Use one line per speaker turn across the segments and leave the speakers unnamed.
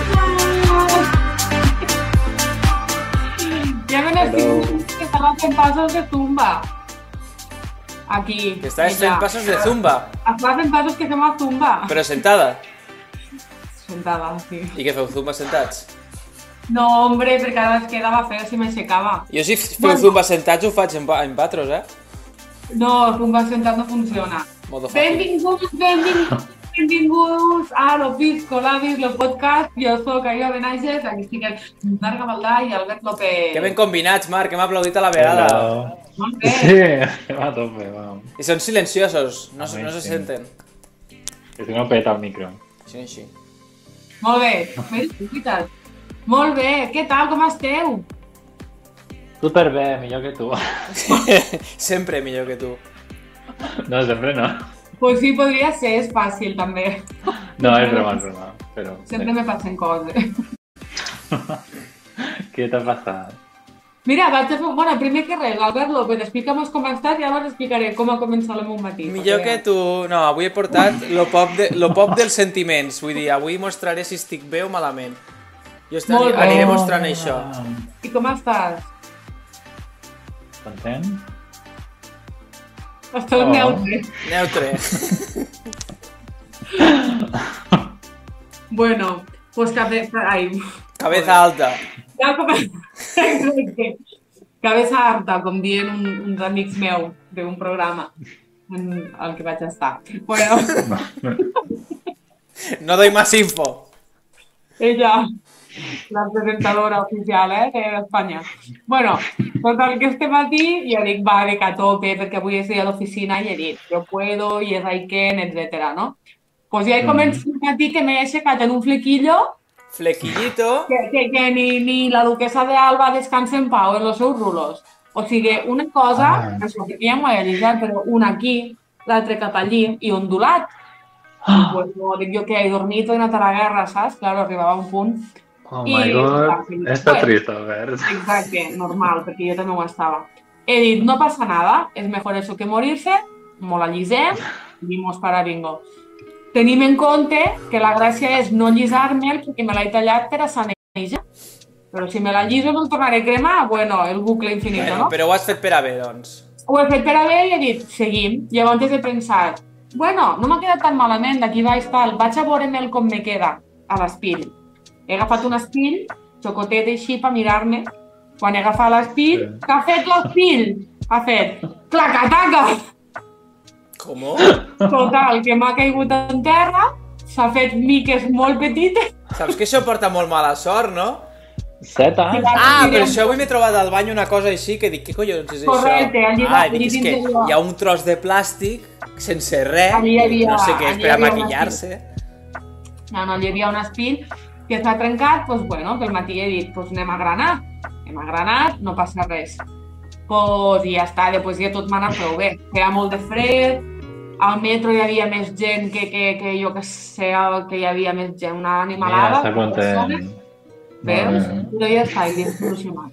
¡Hola! Llegan
Hello.
estos que están a 100 pasos de zumba. Aquí.
Que está a 100
ella.
pasos de zumba,
A 100 pasos que fem a zumba.
però sentada.
Sentada, sí.
I què feu, zumba sentats?
No, hombre, perquè ara es quedava feo si m'aixecava.
Jo si feu
Bueno.
zumba sentats ho faig en, pa- en patros, eh?
No, zumba sentat no funciona.
Modo fàcil.
Benvinguts, benvinguts, benvinguts a Lopis Colabis, lo podcast. Jo sóc Ayo Benages, aquí estic amb Marc Gavaldà i Albert López.
Que ben combinats, Marc, que m'ha aplaudit a la vegada.
Molt bé.
Sí, va a tope, vamos.
I són silenciosos, no, se- no se
Amazing.
senten.
Que si no peta el micro.
Així, així.
Molt bé, mira, veritat. Molt bé, què tal, com esteu?
Super bé, millor que tu.
Sempre millor que tu.
No, sempre no.
Pues sí, podria ser, és fàcil també.
No, és broma, és broma. Però,
Sempre me passen coses.
Què t'ha passat?
Mira, vaig a fer... Bueno, primer que res, Albert López, explica'm com ha estat i ara us explicaré com ha començat el meu matí.
Millor que
perquè-
tu... No, avui he portat lo pop, de, lo pop dels sentiments. Vull dir, avui mostraré si estic bé o malament. Jo estic,
Molt bé.
aniré mostrant això.
I com estàs?
Content?
Estàs
Oh.
oh. neutre.
Neutre.
Bueno, pues cabe... Ai,
Cabeza alta.
tal com... Exacte. Cabeza harta, com diuen un, uns amics meus d'un programa en el que vaig estar. Bueno,
No doy más info.
Ella, la presentadora oficial eh, d'Espanya. Bueno, total, que este matí jo dic, va, dic a tope, perquè avui he estat a l'oficina i he dit, jo puedo, yes, I can, etc. no? Pues ja he començat el matí que m'he aixecat en un flequillo
Flequillito.
que, que, que ni, ni la duquesa d'Alba descansa en pau en els seus rulos. O sigui, una cosa,
Ah.
ah. això que ja m'ho he dit, ja, però un aquí, l'altre cap allí, i ondulat.
Ah.
Pues, no, dic jo que he dormit, he anat a la guerra, saps? Claro, arribava un punt
Oh
I-
my god, està
Bueno.
trist, Albert.
Exacte, normal, perquè jo també ho estava. He dit, no passa nada, és mejor eso que morir-se, molt allisem i mos para bingo. Tenim en compte que la gràcia és no allisar-me'l perquè me l'he tallat per a sanejar. Però si me la lliso me'l tornaré a cremar, bueno, el bucle infinito,
Bueno,
no?
però ho has fet per a bé, doncs.
Ho he fet per a bé i he dit, seguim. Llavors he pensat, bueno, no m'ha quedat tan malament, d'aquí baix tal, vaig a veure'm com me queda, a l'espill. He agafat un espill, xocotet així per mirar-me, quan he agafat l'espill,
Sí.
que ha fet l'espill? Ha fet clacataca!
Com?
Total, que m'ha caigut en terra, s'ha fet miques molt petites.
Saps que això porta molt mala sort, no?
Set anys?
Ah, però això avui m'he trobat al bany una cosa així que dic, què collons és això?
Correcte, al llit-
ah, i dic,
al llit
és que
interior.
hi ha un tros de plàstic sense res,
Allí hi havia-
no sé què,
allí
és per a
hi havia
maquillar-se.
No, no, hi havia un espill que s'ha trencat, doncs bueno, que al matí he dit, doncs anem a granar. Anem a granar, no passa res. Pues, I ja està, després ja tot m'ha anat prou bé. Feia molt de fred, al metro hi havia més gent que, que, que jo que sé, que hi havia més gent, una
Mira,
animalada.
està content.
Veus?
Molt
Però ja està, i solucionat.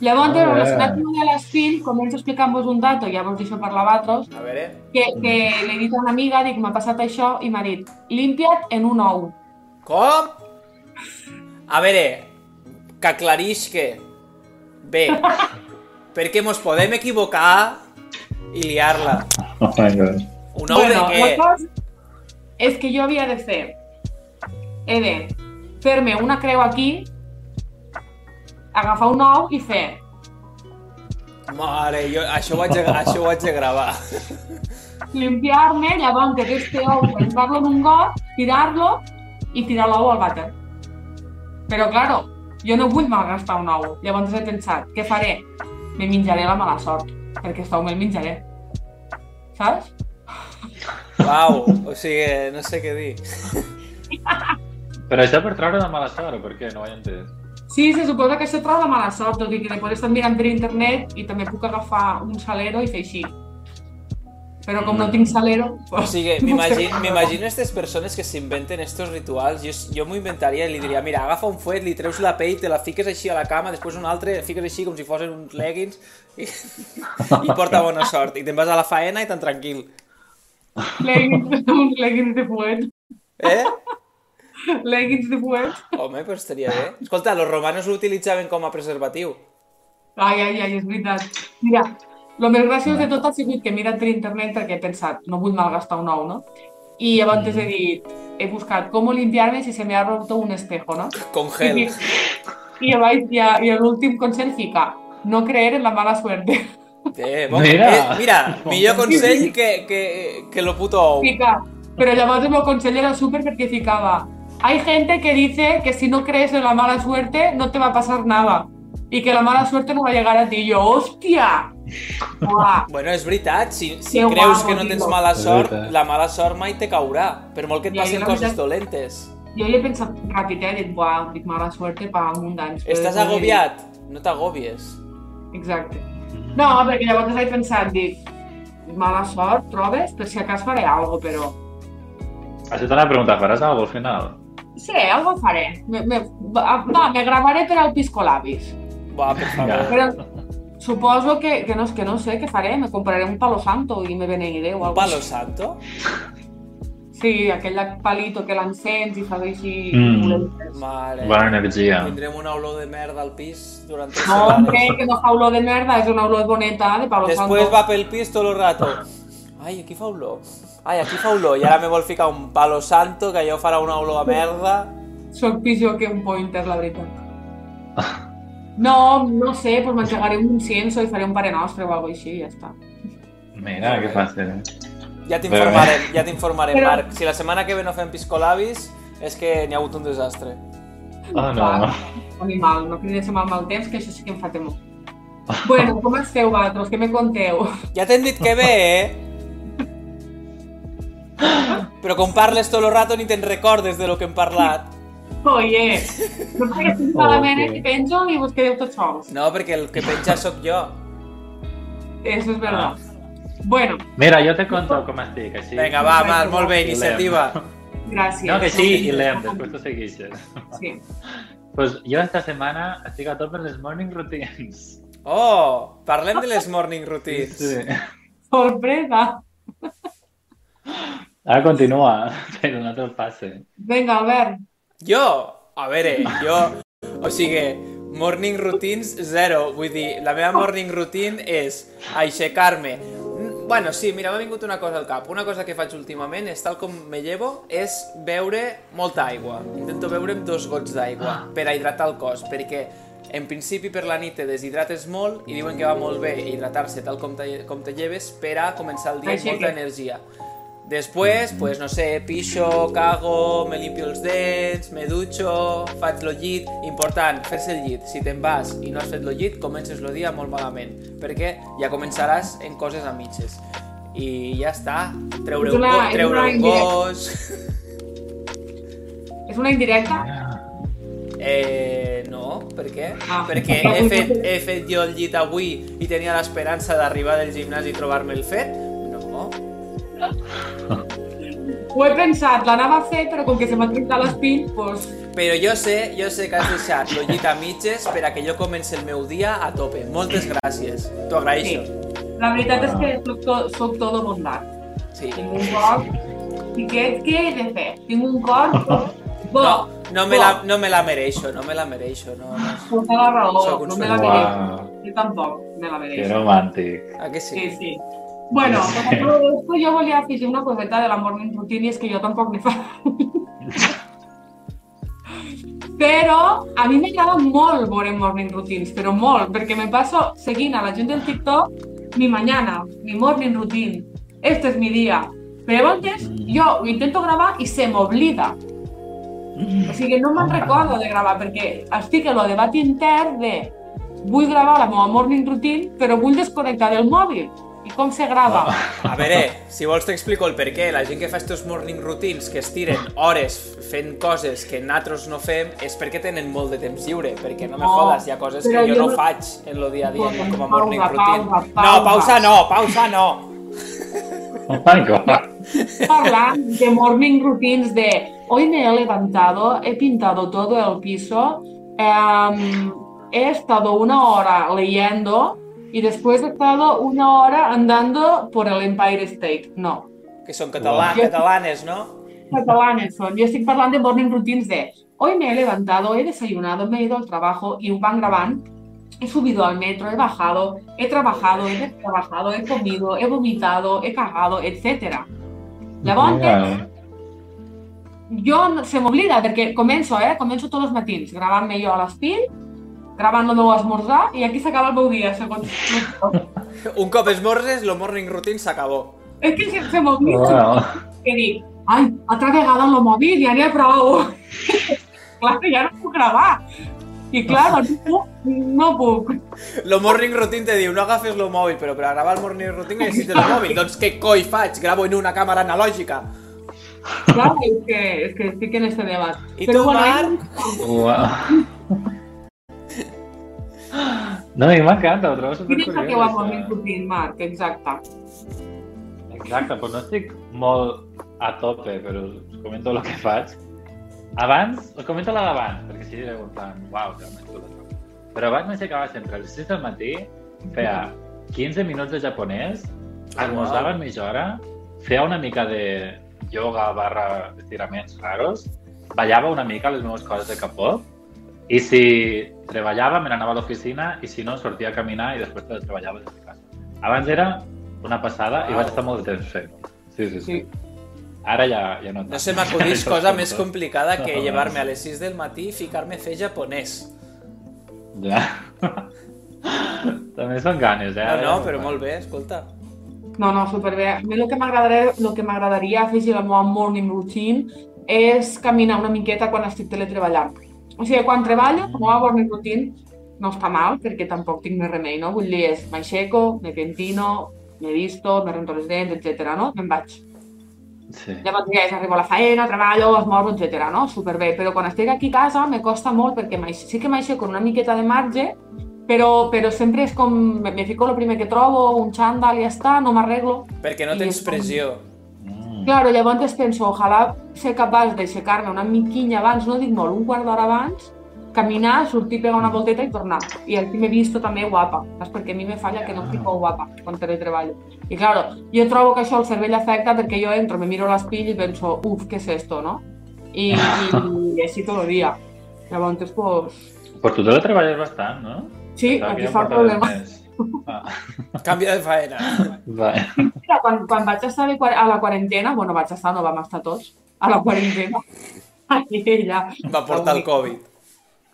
Llavors,
Molt bé.
relacionat amb l'espill, començo explicant-vos un dato, ja vos deixo parlar a vosaltres,
A veure,
que, que l'he dit a una amiga, dic, m'ha passat això, i m'ha dit, limpia't en un ou.
com? A veure, que aclarix que... Bé, perquè mos podem equivocar i liar-la.
Oh my god.
Un ou de
la
què?
cosa és que jo havia de fer... He de fer-me una creu aquí, agafar un ou i fer...
Mare, jo, això, ho haig de, això ho haig de gravar.
Limpiar-me, llavors que aquest ou, pensar-lo en un got, tirar-lo i tirar l'ou al vàter. Però, claro, jo no vull malgastar un ou. Llavors he pensat, què faré? Me menjaré la mala sort, perquè aquest ou me'l menjaré. Saps?
Uau, o sigui, no sé què dir.
Però això per treure de mala sort, o per què? No ho he entès.
Sí, se suposa que això troba mala sort, tot i que després estan mirant per internet i també puc agafar un salero i fer així. Però com no tinc salero...
Mm. O sigui, m'imagino m'imagino aquestes persones que s'inventen estos rituals, jo, jo m'ho inventaria i li diria, mira, agafa un fuet, li treus la pell, te la fiques així a la cama, després un altre, la fiques així com si fossin uns leggings i, i porta bona sort. I te'n vas a la faena i tan tranquil.
Leggings, uns leggings de fuet.
Eh?
leggings de fuet.
Home, però estaria bé. Escolta, los romanos ho utilitzaven com a preservatiu.
Ai, ai, ai, és veritat. Mira, el més graciós de tot ha sigut que he mirat per internet perquè he pensat, no vull malgastar un ou, no? I
Mm.
llavors he dit, he buscat com limpiar-me si se me ha roto un espejo, no?
Con gel.
I, llavors, i, a- i l'últim consell fica, no creer en la mala suerte.
Eh, bon,
Mira.
eh, mira, millor consell que, que, que lo puto ou.
Fica, però llavors el meu consell era súper perquè ficava, hay gente que dice que si no crees en la mala suerte no te va a pasar nada y que la mala suerte no va a llegar a ti. I jo, hòstia! Uah.
Bueno, és veritat, si, si
Que guapo,
creus que no tens
tio.
mala
És
sort,
veritat.
la mala sort mai te caurà, per molt que et
Ja, jo
passin
la
coses
veritat-
dolentes.
Jo hi he pensat ràpid, eh? He dit, buah, dic mala suerte pa un munt d'anys. però després
Estàs
he dit,
agobiat? No t'agobies.
Exacte. No, perquè llavors he pensat, dic, mala sort, trobes? Per si a cas faré alguna però...
Això t'anava a preguntar, faràs alguna al final?
Sí, algo faré. Me, me, va, va, me gravaré per al Piscolabis.
Va, per favor.
Però suposo que, que, no, que no sé què faré, me compraré un palo santo i me beneiré o
Un
alguna
palo santo?
Sí, aquell palito que l'encens i fas així...
Mm.
Mm.
Mare.
Bona energia.
Tindrem una olor de merda al pis durant tres
No,
setmanes.
hombre, que no fa olor de merda, és una olor boneta de palo
Després
santo.
va pel pis tot el rato. Ai, aquí fa olor. Ai, aquí fa olor. I ara me vol ficar un palo santo, que allò farà una olor a merda.
Soc pitjor que un pointer, la veritat.
Ah.
No, no sé, doncs m'engegaré un cienso i faré un pare nostre o alguna així i ja està.
Mira, que fàcil.
Ja t'informarem, ja t'informarem,
Però-
Marc. Si la setmana que ve no fem piscolabis, és que n'hi ha hagut un desastre.
Oh, no.
Va, Animal, no cridéssim al mal temps, que això sí que em fa temor. Bueno, com esteu, vosaltres? Què me conteu?
Ja t'hem dit que bé, eh? Però com parles tot el rato ni te'n recordes de lo que hem parlat.
Oye, no sé que estic malament i penjo i vos quedeu tots sols.
No, perquè el que penja sóc jo.
Eso es verdad.
Ah.
Bueno,
Mira, jo te conto com estic, així.
Vinga, va, Marc, molt bé, iniciativa.
gràcies.
No, que sí, i l'hem, després tu segueixes.
Sí.
Pues jo esta setmana estic a tope en les morning routines.
Oh, parlem de les morning routines.
Sorpresa.
Ara continua, però no te'l passe.
Vinga, Albert.
Jo? A veure, jo... O sigui, morning routines zero. Vull dir, la meva morning routine és aixecar-me. Mm, Bueno, sí, mira, m'ha vingut una cosa al cap. Una cosa que faig últimament és, tal com me llevo, és beure molta aigua. Intento beure'm dos gots d'aigua per a hidratar el cos, perquè en principi per la nit te deshidrates molt i diuen que va molt bé hidratar-se tal com te, com te lleves per a començar el dia amb molta
Aixequi.
energia. Después, pues no sé, pixo, cago, me limpio els dents, me dutxo, faig lo llit. Important, fer-se el llit. Si te'n vas i no has fet lo llit, comences el dia molt malament, perquè ja començaràs en coses a mitges. I ja està, treure
És
un,
una-
go,
és
treure
una
un
indirecta.
gos...
És una indirecta?
Eh, no, per què?
Ah.
Perquè he fet, he fet jo el llit avui i tenia l'esperança d'arribar del gimnàs i trobar-me el fet? No,
Ho he pensat, l'anava a fer, però com que se m'ha trencat l'espill, doncs...
Però jo sé, jo sé que has deixat el llit a mitges per a que jo comenci el meu dia a tope. Moltes gràcies.
Sí.
T'ho agraeixo.
La veritat és que soc, to, soc todo bondat.
Sí.
Tinc un cor... I què, què he de fer? Tinc un cor... Bo,
No, no, me la, no me la mereixo, no me la mereixo. No, no.
Tota la raó,
Soc un
no me la
sueño.
mereixo.
Uau.
Jo tampoc me la
Que
mereixo.
romàntic.
A que sí?
Sí, sí. Bueno, pues a todo esto yo volia afegir una coseta de la morning routine i és que jo tampoc n'he fa. però a mi m'agrada molt veure morning routines, però molt, perquè me passo seguint a la gent del TikTok mi mañana, mi morning routine, este es mi dia. Però llavors jo ho intento gravar i se m'oblida. O sigui, no me'n recordo de gravar, perquè estic en el debat intern de vull gravar la meva morning routine, però vull desconnectar del mòbil. I com se grava?
A veure, si vols t'explico el per què. La gent que fa estos morning routines, que es tiren hores fent coses que nosaltres no fem, és perquè tenen molt de temps lliure, perquè no, me
No,
jodes, hi ha coses que
però
jo
jo
no
no-
faig en el dia a dia com a
Pausa,
morning
pausa,
routine.
pausa.
No, pausa no, pausa no.
Oh my god.
Parlant de morning routines de hoy me he levantado, he pintado todo el piso, em, he estado una hora leyendo y después he estado una hora andando por el Empire State. No,
Que són català,
Jo-
catalanes, no?
catalanes son. Yo estic parlant de morning routines de hoy me he levantado, he desayunado, me he ido al trabajo y van grabant. He subido al metro, he bajado, he trabajado, he trabajado, he comido, he vomitado, he cagado, etc. Llavors,
Mira,
jo no- se m'oblida perquè començo, eh? Començo tots els matins gravant-me jo a l'espill, gravant el meu esmorzar i aquí s'acaba el meu dia, segons...
Un cop esmorzes, lo morning routine s'acabó.
És que se, se m'oblida.
Bueno,
que dic, ai, altra vegada amb el mòbil, ja n'hi ha prou. clar, ja no puc gravar. I clar, doncs, no, no puc.
Lo morning routine te diu, no agafes lo mòbil, però per a gravar el morning routine necessites el mòbil. Doncs què coi faig? Gravo en una càmera analògica.
Clar, és que, és que estic en este debat.
I tu, Marc?
guau. No, y me encanta, otro.
Quina és la teua moment sortint, Marc? Exacte.
Exacte, però no estic molt a tope, però us comento el que faig. Abans, us comento la d'abans, perquè si direu en plan, uau, realment tu la toques. Però abans m'aixecava sempre a les 6 del matí, feia 15 minuts de japonès,
Ah,
almorzava
uau.
en mitja hora, feia una mica de yoga barra estiraments raros, ballava una mica les meves coses de capó, i si treballava, me n'anava a l'oficina, i si no, sortia a caminar i després treballava des de casa. Abans era una passada i
Uau.
vaig estar molt de temps fent-ho. Sí, sí, sí.
Sí.
Ara ja, ja no... tant.
No se m'acudís cosa més complicada que
No.
llevar-me a les 6 del matí i ficar-me a fer japonès.
Ja. També són ganes, eh?
No, no, però molt bé, escolta.
No, no, superbé. A mi el que m'agradaria, el que m'agradaria afegir a la meva morning routine és caminar una miqueta quan estic teletreballant. O sigui, quan treballo, la meva morning routine no està mal, perquè tampoc tinc més remei, no? Vull dir, és m'aixeco, me pentino, me visto, me rento les dents, etc. no? Me'n vaig.
Sí.
Llavors ja és, arribo a la feina, treballo, esmorzo, etc. no? Superbé. Però quan estic aquí a casa me costa molt perquè m'aixe- sí que m'aixeco una miqueta de marge, però, però sempre és com, me, me fico el primer que trobo, un xandall i ja està, no m'arreglo,
Perquè no
I
tens
és com-
pressió.
Mm.
Claro, llavors penso, ojalà ser capaç d'aixecar-me una miquinya abans, no dic molt, un quart d'hora abans, caminar, sortir, pegar una volteta i tornar. I aquí m'he vist també guapa, saps? perquè a mi me falla que no estic molt guapa quan teletreballo. I claro, jo trobo que això el cervell afecta perquè jo entro, me miro a l'espill i penso, uf, què és esto, no? I, i, i així tot el dia. Llavors, pues,
Però tu te la treballes bastant, no?
sí,
Clar,
aquí
ja em
fa el
portaré
problema.
més.
Canvia de faena.
Va.
Mira, quan, quan vaig estar de quar- a la quarantena, bueno, vaig estar, no vam estar tots, a la quarantena, ja.
Va portar el Covid.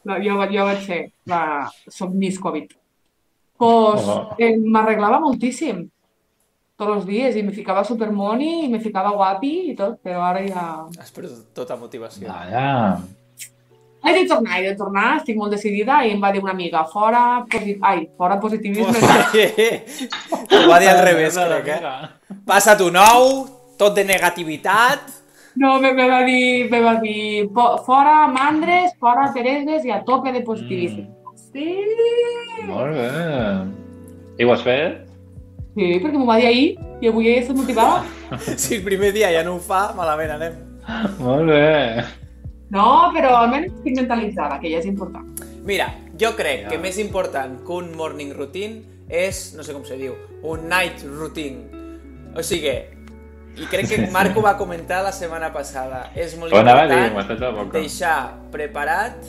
No, jo, jo vaig ser la somnis-covid. Pues,
Oh.
eh, m'arreglava moltíssim tots els dies i me ficava supermoni i me ficava guapi i tot, però ara ja...
Has perdut tota motivació.
Ah.
Vaja.
He de tornar, he de tornar, estic molt decidida i em va dir una amiga, fora, posi... ai, fora positivisme.
Ho va dir al revés, crec, eh? Passa tu nou, tot de negativitat.
No, me, me va dir, me va dir "Po- fora mandres, fora tereses i a tope de positivisme.
Mm.
Sí,
Molt bé. I ho has fet?
sí perquè m'ho va dir ahir i avui he estat motivada.
Si el primer dia ja no ho fa, malament anem.
Molt bé.
No, però almenys estic mentalitzada, que ja és important.
Mira, jo crec
Ja.
que més important que un morning routine és, no sé com se diu, un night routine. O sigui, i crec que Marco va comentar la setmana passada, és molt
Ho anava a dir, m'ho
important
has fet a la boca.
deixar preparat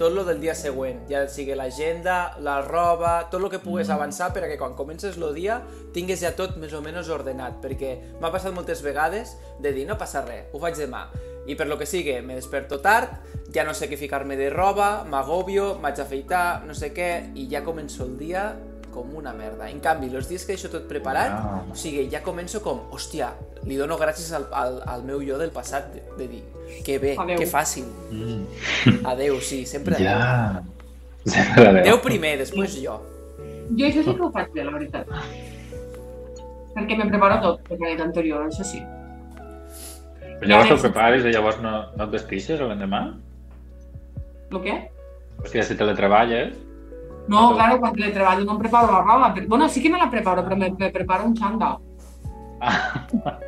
tot lo del dia següent, ja sigui l'agenda, la roba, tot lo que pugues
Mm.
avançar perquè quan comences el dia tingues ja tot més o menys ordenat, perquè m'ha passat moltes vegades de dir no passa res, ho faig demà, i per lo que sigue, me desperto tard, ja no sé què ficar-me de roba, m'agobio, m'haig a afeitar, no sé què, i ja començo el dia com una merda. En canvi, els dies que deixo tot preparat,
Ah.
o sigui, ja començo com, hòstia, li dono gràcies al, al, al meu jo del passat de, de dir, que bé,
Adeu.
que fàcil,
Mm.
Adeu, sí, sempre adeu.
Ja. Sempre adéu.
Adeu primer, després jo.
Jo això sí que ho faig bé, la veritat. Perquè me preparo tot per la nit anterior, això sí.
Però llavors ho prepares i eh, llavors no, no et despixes l'endemà?
El què?
Hòstia, si teletreballes...
No, claro, quan le treballo no em preparo la roba. Però... Bueno, sí que me la preparo, però me, me preparo un xandall.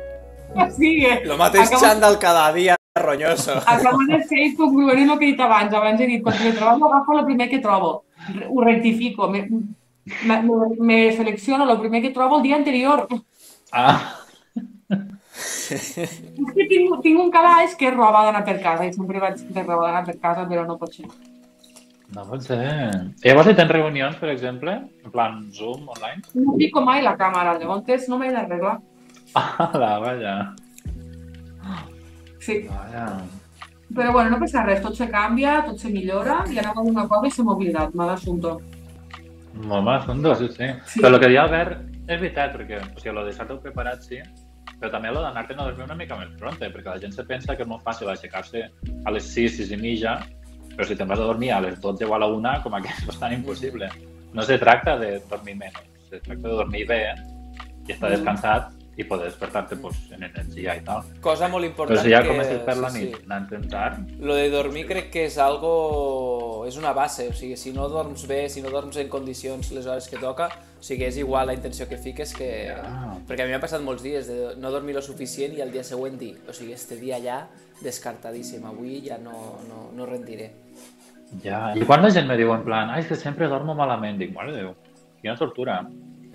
Ah,
Sí, eh?
Lo mateix
Acabo-
xandall cada dia, ronyoso.
Acabo de ser congruent amb el que he dit abans. Abans he dit, quan le treballo agafo el primer que trobo. Re- Ho rectifico. Me, me, me, me selecciono el primer que trobo el dia anterior.
ah.
És que tinc, tinc un calaix que és roba d'anar per casa i sempre vaig de roba d'anar per casa, però no pot ser.
No pot ser. I llavors hi tens reunions, per exemple, en plan Zoom, online?
No pico mai la càmera, llavors no m'he d'arreglar.
Ah, la, vaja.
Sí,
Vaja.
però bueno, no passa res, tot se canvia, tot se millora i ara vol una cosa i se m'ha oblidat, mal assumpto.
Molt mal asunto, sí, sí.
Sí.
Però el que deia Albert és veritat, perquè o sigui, lo de estar-ho preparat, sí, però també lo d'anar-te'n a dormir una mica més pronta, perquè la gent se pensa que és molt fàcil aixecar-se a les 6, 6 i mitja, però si te'n vas a dormir a les 12 o a la 1, com que és bastant impossible. No se tracta de dormir menys, se tracta de dormir bé i
Mm.
estar descansat i poder despertar-te pues, en energia i tal.
Cosa molt important
Però si ja
que...
comences per la
sí,
nit
sí.
anant tard,
Lo de dormir crec que és algo... és una base, o sigui, si no dorms bé, si no dorms en condicions les hores que toca, o sigui, és igual la intenció que fiques que...
Ja.
Perquè a mi m'ha passat molts dies de no dormir lo suficient i al dia següent dir, o sigui, este dia ja descartadíssim, avui ja no, no, no rendiré.
Ja, eh. i quan la gent me diu en plan, ai, és que sempre dormo malament, dic, mare de Déu, quina tortura.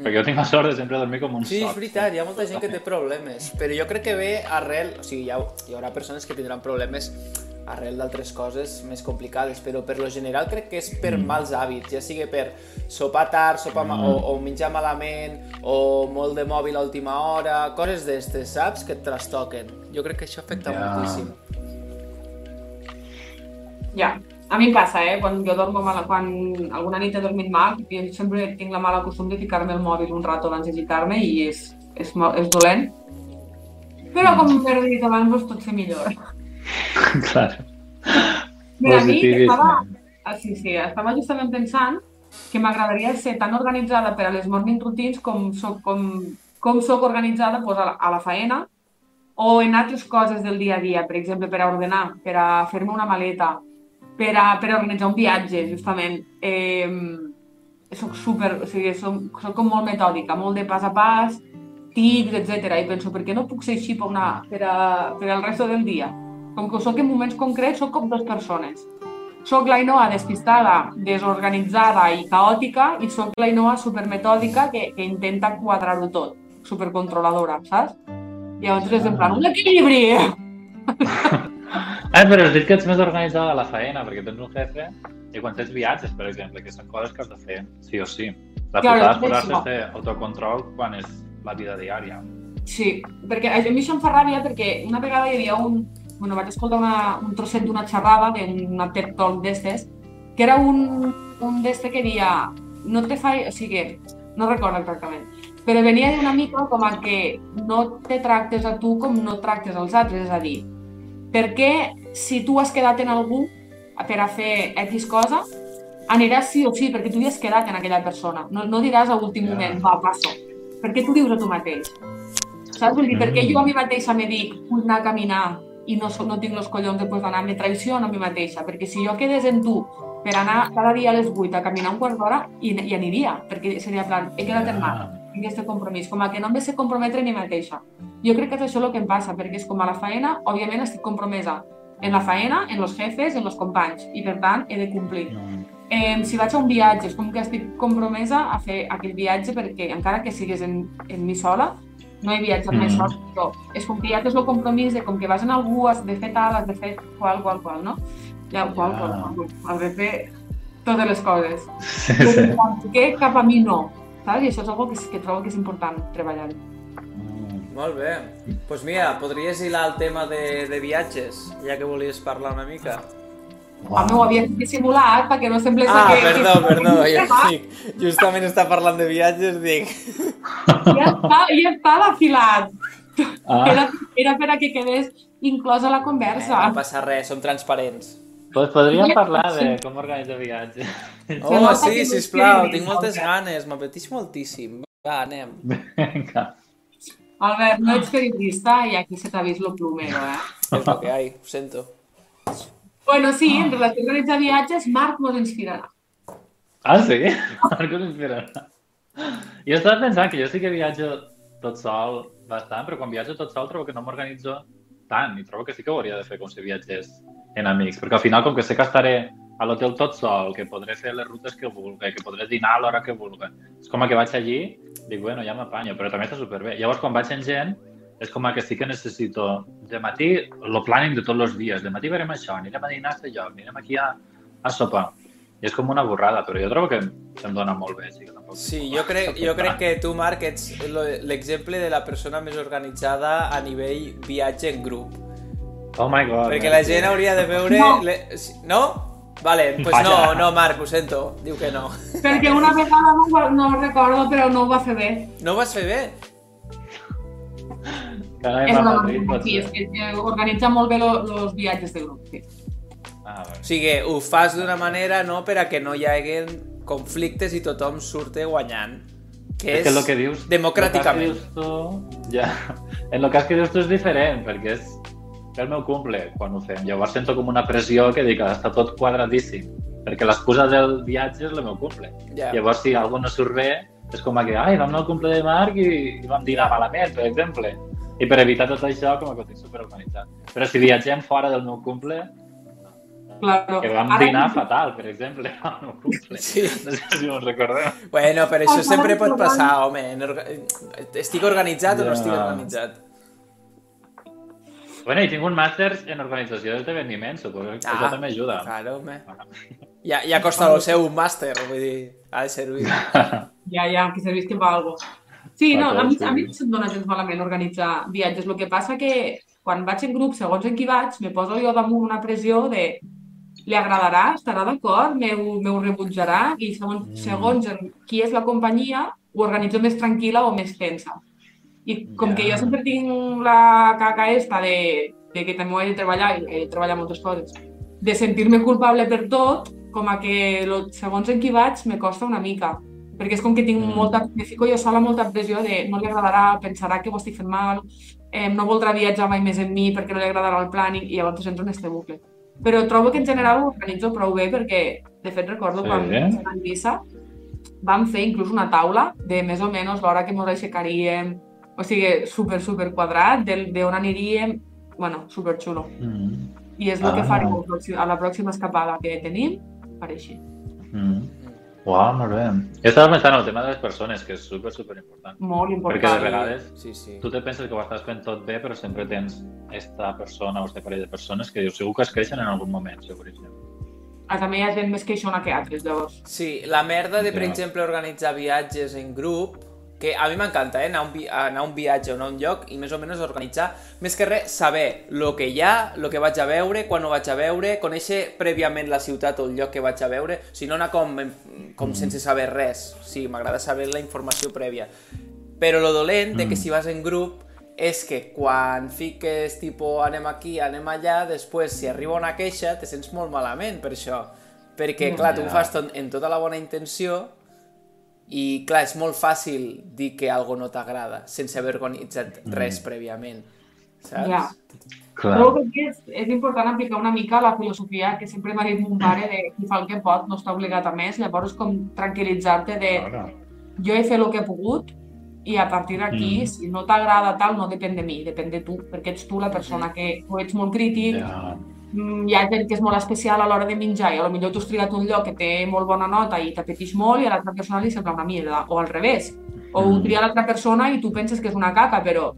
Perquè jo tinc la sort de sempre dormir com un
Mm. Sí,
soc.
és veritat, hi ha molta gent que té problemes, però jo crec que ve arrel, o sigui, hi, ha, hi haurà persones que tindran problemes arrel d'altres coses més complicades, però per lo general crec que és per mals hàbits, ja sigui per sopar tard, sopar ma o, o menjar malament, o molt de mòbil a última hora, coses d'estes, saps? Que et trastoquen. Jo crec que això afecta
Ja.
moltíssim.
Ja, a mi em passa, eh? Quan jo dormo mal, quan alguna nit he dormit mal, jo sempre tinc la mala costum de ficar-me el mòbil un rato abans de gitar-me i és, és, mo- és dolent. Però com m'he dit abans, doncs tot se millora.
Clar.
Mira, a mi
Positivisme.
estava, ah, sí, sí, estava justament pensant que m'agradaria ser tan organitzada per a les morning routines com soc, com, com soc organitzada pues, a, la, a la faena o en altres coses del dia a dia, per exemple, per a ordenar, per a fer-me una maleta, per a, per a organitzar un viatge, justament. Eh, soc super, o sigui, soc, soc com molt metòdica, molt de pas a pas, tics, etc. I penso, per què no puc ser així per, una, per, a, per al resto del dia? Com que ho soc en moments concrets, soc com dues persones. Soc la Inoa despistada, desorganitzada i caòtica i soc la Inoa supermetòdica que, que intenta quadrar-ho tot, supercontroladora, saps? I llavors és en plan, un equilibri!
Ah, però has dit que ets més organitzada a la faena, perquè tens un jefe i quan tens viatges, per exemple, que són coses que has de fer, sí o sí. La
Clar, és
putada és posar-se
això.
a fer autocontrol quan és la vida diària.
Sí, perquè a mi això em fa ràbia perquè una vegada hi havia un... Bueno, vaig escoltar una, un trosset d'una xerrada, d'una TED Talk d'estes, que era un, un d'este que dia no te fa... O sigui, no recordo exactament, però venia d'una mica com a que no te tractes a tu com no tractes als altres, és a dir, per què si tu has quedat en algú per a fer X cosa, aniràs sí o sí, perquè tu hi has quedat en aquella persona. No, no diràs a últim
Ja.
moment, va, passo. Perquè tu dius a tu mateix. Saps? Vull dir,
Mm.
perquè jo a mi mateixa me dic, vull anar a caminar i no, so- no tinc els collons de pues, d'anar, me traiciono a mi mateixa, perquè si jo quedés en tu per anar cada dia a les 8 a caminar un quart d'hora, i, i aniria, perquè seria en plan, he quedat en mal,
Ah.
tinc aquest compromís, com a que no em ve ser comprometre a mi mateixa. Jo crec que és això el que em passa, perquè és com a la faena, òbviament estic compromesa en la faena, en els jefes, en els companys, i per tant he de complir
Mm.
eh, si vaig a un viatge, és com que estic compromesa a fer aquell viatge perquè encara que sigues en, en mi sola, no he viatjat mm. més
Mm.
sola, però és com que ja tens el compromís de com que vas en algú, has de fer tal, has de fer qual, qual, qual, no? Ja, qual, qual,
Ja.
qual, has de fer totes les coses.
Sí, sí.
Però Per què cap a mi no? Saps? I això és una que, que trobo que és important treballar.
Mm.
Molt bé. Doncs pues mira, podries hilar el tema de, de viatges, ja que volies parlar una mica.
El meu havia dissimulat perquè no semblés
Ah,
que...
perdó,
que-
perdó, jo
Ja
dic, justament està parlant de viatges, dic...
està, ja estava afilat.
Ah,
Era, era per a que quedés inclosa la conversa.
Eh, no passa res, som transparents.
doncs podríem
Sí.
parlar de com organitzar viatges.
Oh,
nota que
sí,
no
sisplau,
escrius,
tinc moltes
Albert.
ganes, m'apeteix moltíssim. Va, anem.
Vinga.
Albert,
Ah.
no ets periodista i aquí se t'ha vist lo plumero, eh?
És el que hi ha, ho sento.
Bueno, sí, en relació a organitzar viatges, Marc mos inspirarà.
Ah, sí? Marco l'inspirarà. Jo estava pensant que jo sí que viatjo tot sol bastant, però quan viatjo tot sol trobo que no m'organitzo tant i trobo que sí que ho hauria de fer com si viatgés en amics, perquè al final com que sé que estaré a l'hotel tot sol, que podré fer les rutes que vulgui, que podré dinar a l'hora que vulgui, és com que vaig allí, dic, bueno, ja m'apanyo, però també està superbé. Llavors quan vaig amb gent, és com a que sí que necessito de matí el planning de tots els dies. De matí verem això, anirem a dinar a aquest lloc, anirem aquí a, a sopar. I és com una borrada, però jo trobo que em dona molt bé. Sí, que tampoc
Sí, jo crec, jo crec que tu, Marc, ets lo- l'exemple de la persona més organitzada a nivell viatge en grup.
Oh my god.
Perquè la gent hauria de veure...
No.
le- si- No? Vale, doncs pues no,
Vaja.
no, Marc, ho sento. Diu que no.
Perquè una vegada no, ho va- no ho recordo, però no ho va fer bé.
No ho vas fer bé?
Carai,
És
va
una
Madrid,
persona
potser.
sí, és que eh, organitza molt bé els viatges de grup. Sí.
Ah, bé.
O sigui, ho fas d'una manera no per a que no hi haguin conflictes i tothom surte guanyant. Que és,
és que el que dius...
democràticament.
el que dius tu, ja, en el cas que dius tu és diferent, perquè és és el meu cumple quan ho fem. Llavors sento com una pressió que dic, està tot quadradíssim, perquè l'excusa del viatge és el meu cumple.
Ja.
Llavors, si alguna no surt bé, és com que, ai, vam anar al cumple de Marc i, i vam dinar malament, per exemple. I per evitar tot això, com que ho tinc superorganitzat. Però si viatgem fora del meu cumple,
Claro.
que vam
Ara-
dinar fatal, per exemple, al meu cumple.
Sí.
No sé si us recordeu.
Bueno, però això
Acabem
sempre pot
trobant-
passar, home. en orga- eh, Estic organitzat o no
Ja.
estic organitzat?
Bueno, i tinc un màster en organització d'esdeveniments, suposo que això també ajuda.
Claro, home. Ja, ja costa el seu un màster, vull dir, ha de servir.
Ja, ja, que serveix que va algo. Sí, no, a mi, a mi
Sí.
no se'm dona gens malament organitzar viatges. El que passa que quan vaig en grup, segons en qui vaig, me poso jo damunt una pressió de li agradarà, estarà d'acord, me ho me ho rebutjarà i segons,
Mm.
segons en qui és la companyia ho organitzo més tranquil·la o més tensa. I com que
Ja.
jo sempre tinc la caca esta de, de que també ho he de treballar, i he de treballar moltes coses, de sentir-me culpable per tot, com a que lo, segons en qui vaig me costa una mica. Perquè és com que tinc
Mm.
molta... Me fico jo sola molta pressió de no li agradarà, pensarà que ho estic fent mal, eh, no voldrà viatjar mai més amb mi perquè no li agradarà el planning i llavors entro en este bucle. Però trobo que en general ho organitzo prou bé perquè, de fet, recordo
Sí,
quan
eh?
vaig anar a Eivissa vam fer inclús una taula de més o menys l'hora que ens aixecaríem, o sigui, super, super quadrat, del- d'on aniríem, bueno, super xulo.
Mm.
I és el que
Ah.
farem al pròxim- a la pròxima escapada que tenim, faré així.
Mm. Uau, molt bé. Jo estava pensant en el tema de les persones, que és super, super important.
Molt
Perquè de
important.
vegades
Sí, sí.
tu te penses que ho estàs fent tot bé, però sempre tens esta persona o este parell de persones que dius, segur que es creixen en algun moment, seguríssim.
A també hi ha gent més queixona que altres, llavors.
Sí, la merda de, per
Ja.
exemple, organitzar viatges en grup, que a mi m'encanta, eh, anar a un, vi anar a un viatge o anar a un lloc i més o menys organitzar, més que res, saber el que hi ha, el que vaig a veure, quan ho vaig a veure, conèixer prèviament la ciutat o el lloc que vaig a veure, si no anar com, com sense saber res. Sí, m'agrada saber la informació prèvia. Però lo dolent de que
Mm.
si vas en grup és que quan fiques tipo anem aquí, anem allà, després si arriba una queixa te sents molt malament per això. Perquè,
Mm.
clar, tu ho
Ja.
fas tot, en tota la bona intenció i, clar, és molt fàcil dir que algo no t'agrada sense haver organitzat
Mm.
res prèviament, saps?
Ja. Trobo que aquí és, és important aplicar una mica la filosofia que sempre m'ha dit mon pare de qui fa el que pot no està obligat a més, llavors com tranquil·litzar-te de
Claro.
jo he fet el que he pogut i a partir d'aquí,
Mm.
si no t'agrada tal, no depèn de mi, depèn de tu, perquè ets tu la persona que o ets molt crític,
Ja.
mm, hi ha gent que és molt especial a l'hora de menjar i a lo millor tu has triat un lloc que té molt bona nota i t'apeteix molt i a l'altra persona li sembla una mierda, o al revés. O ho
Mm.
tria l'altra persona i tu penses que és una caca, però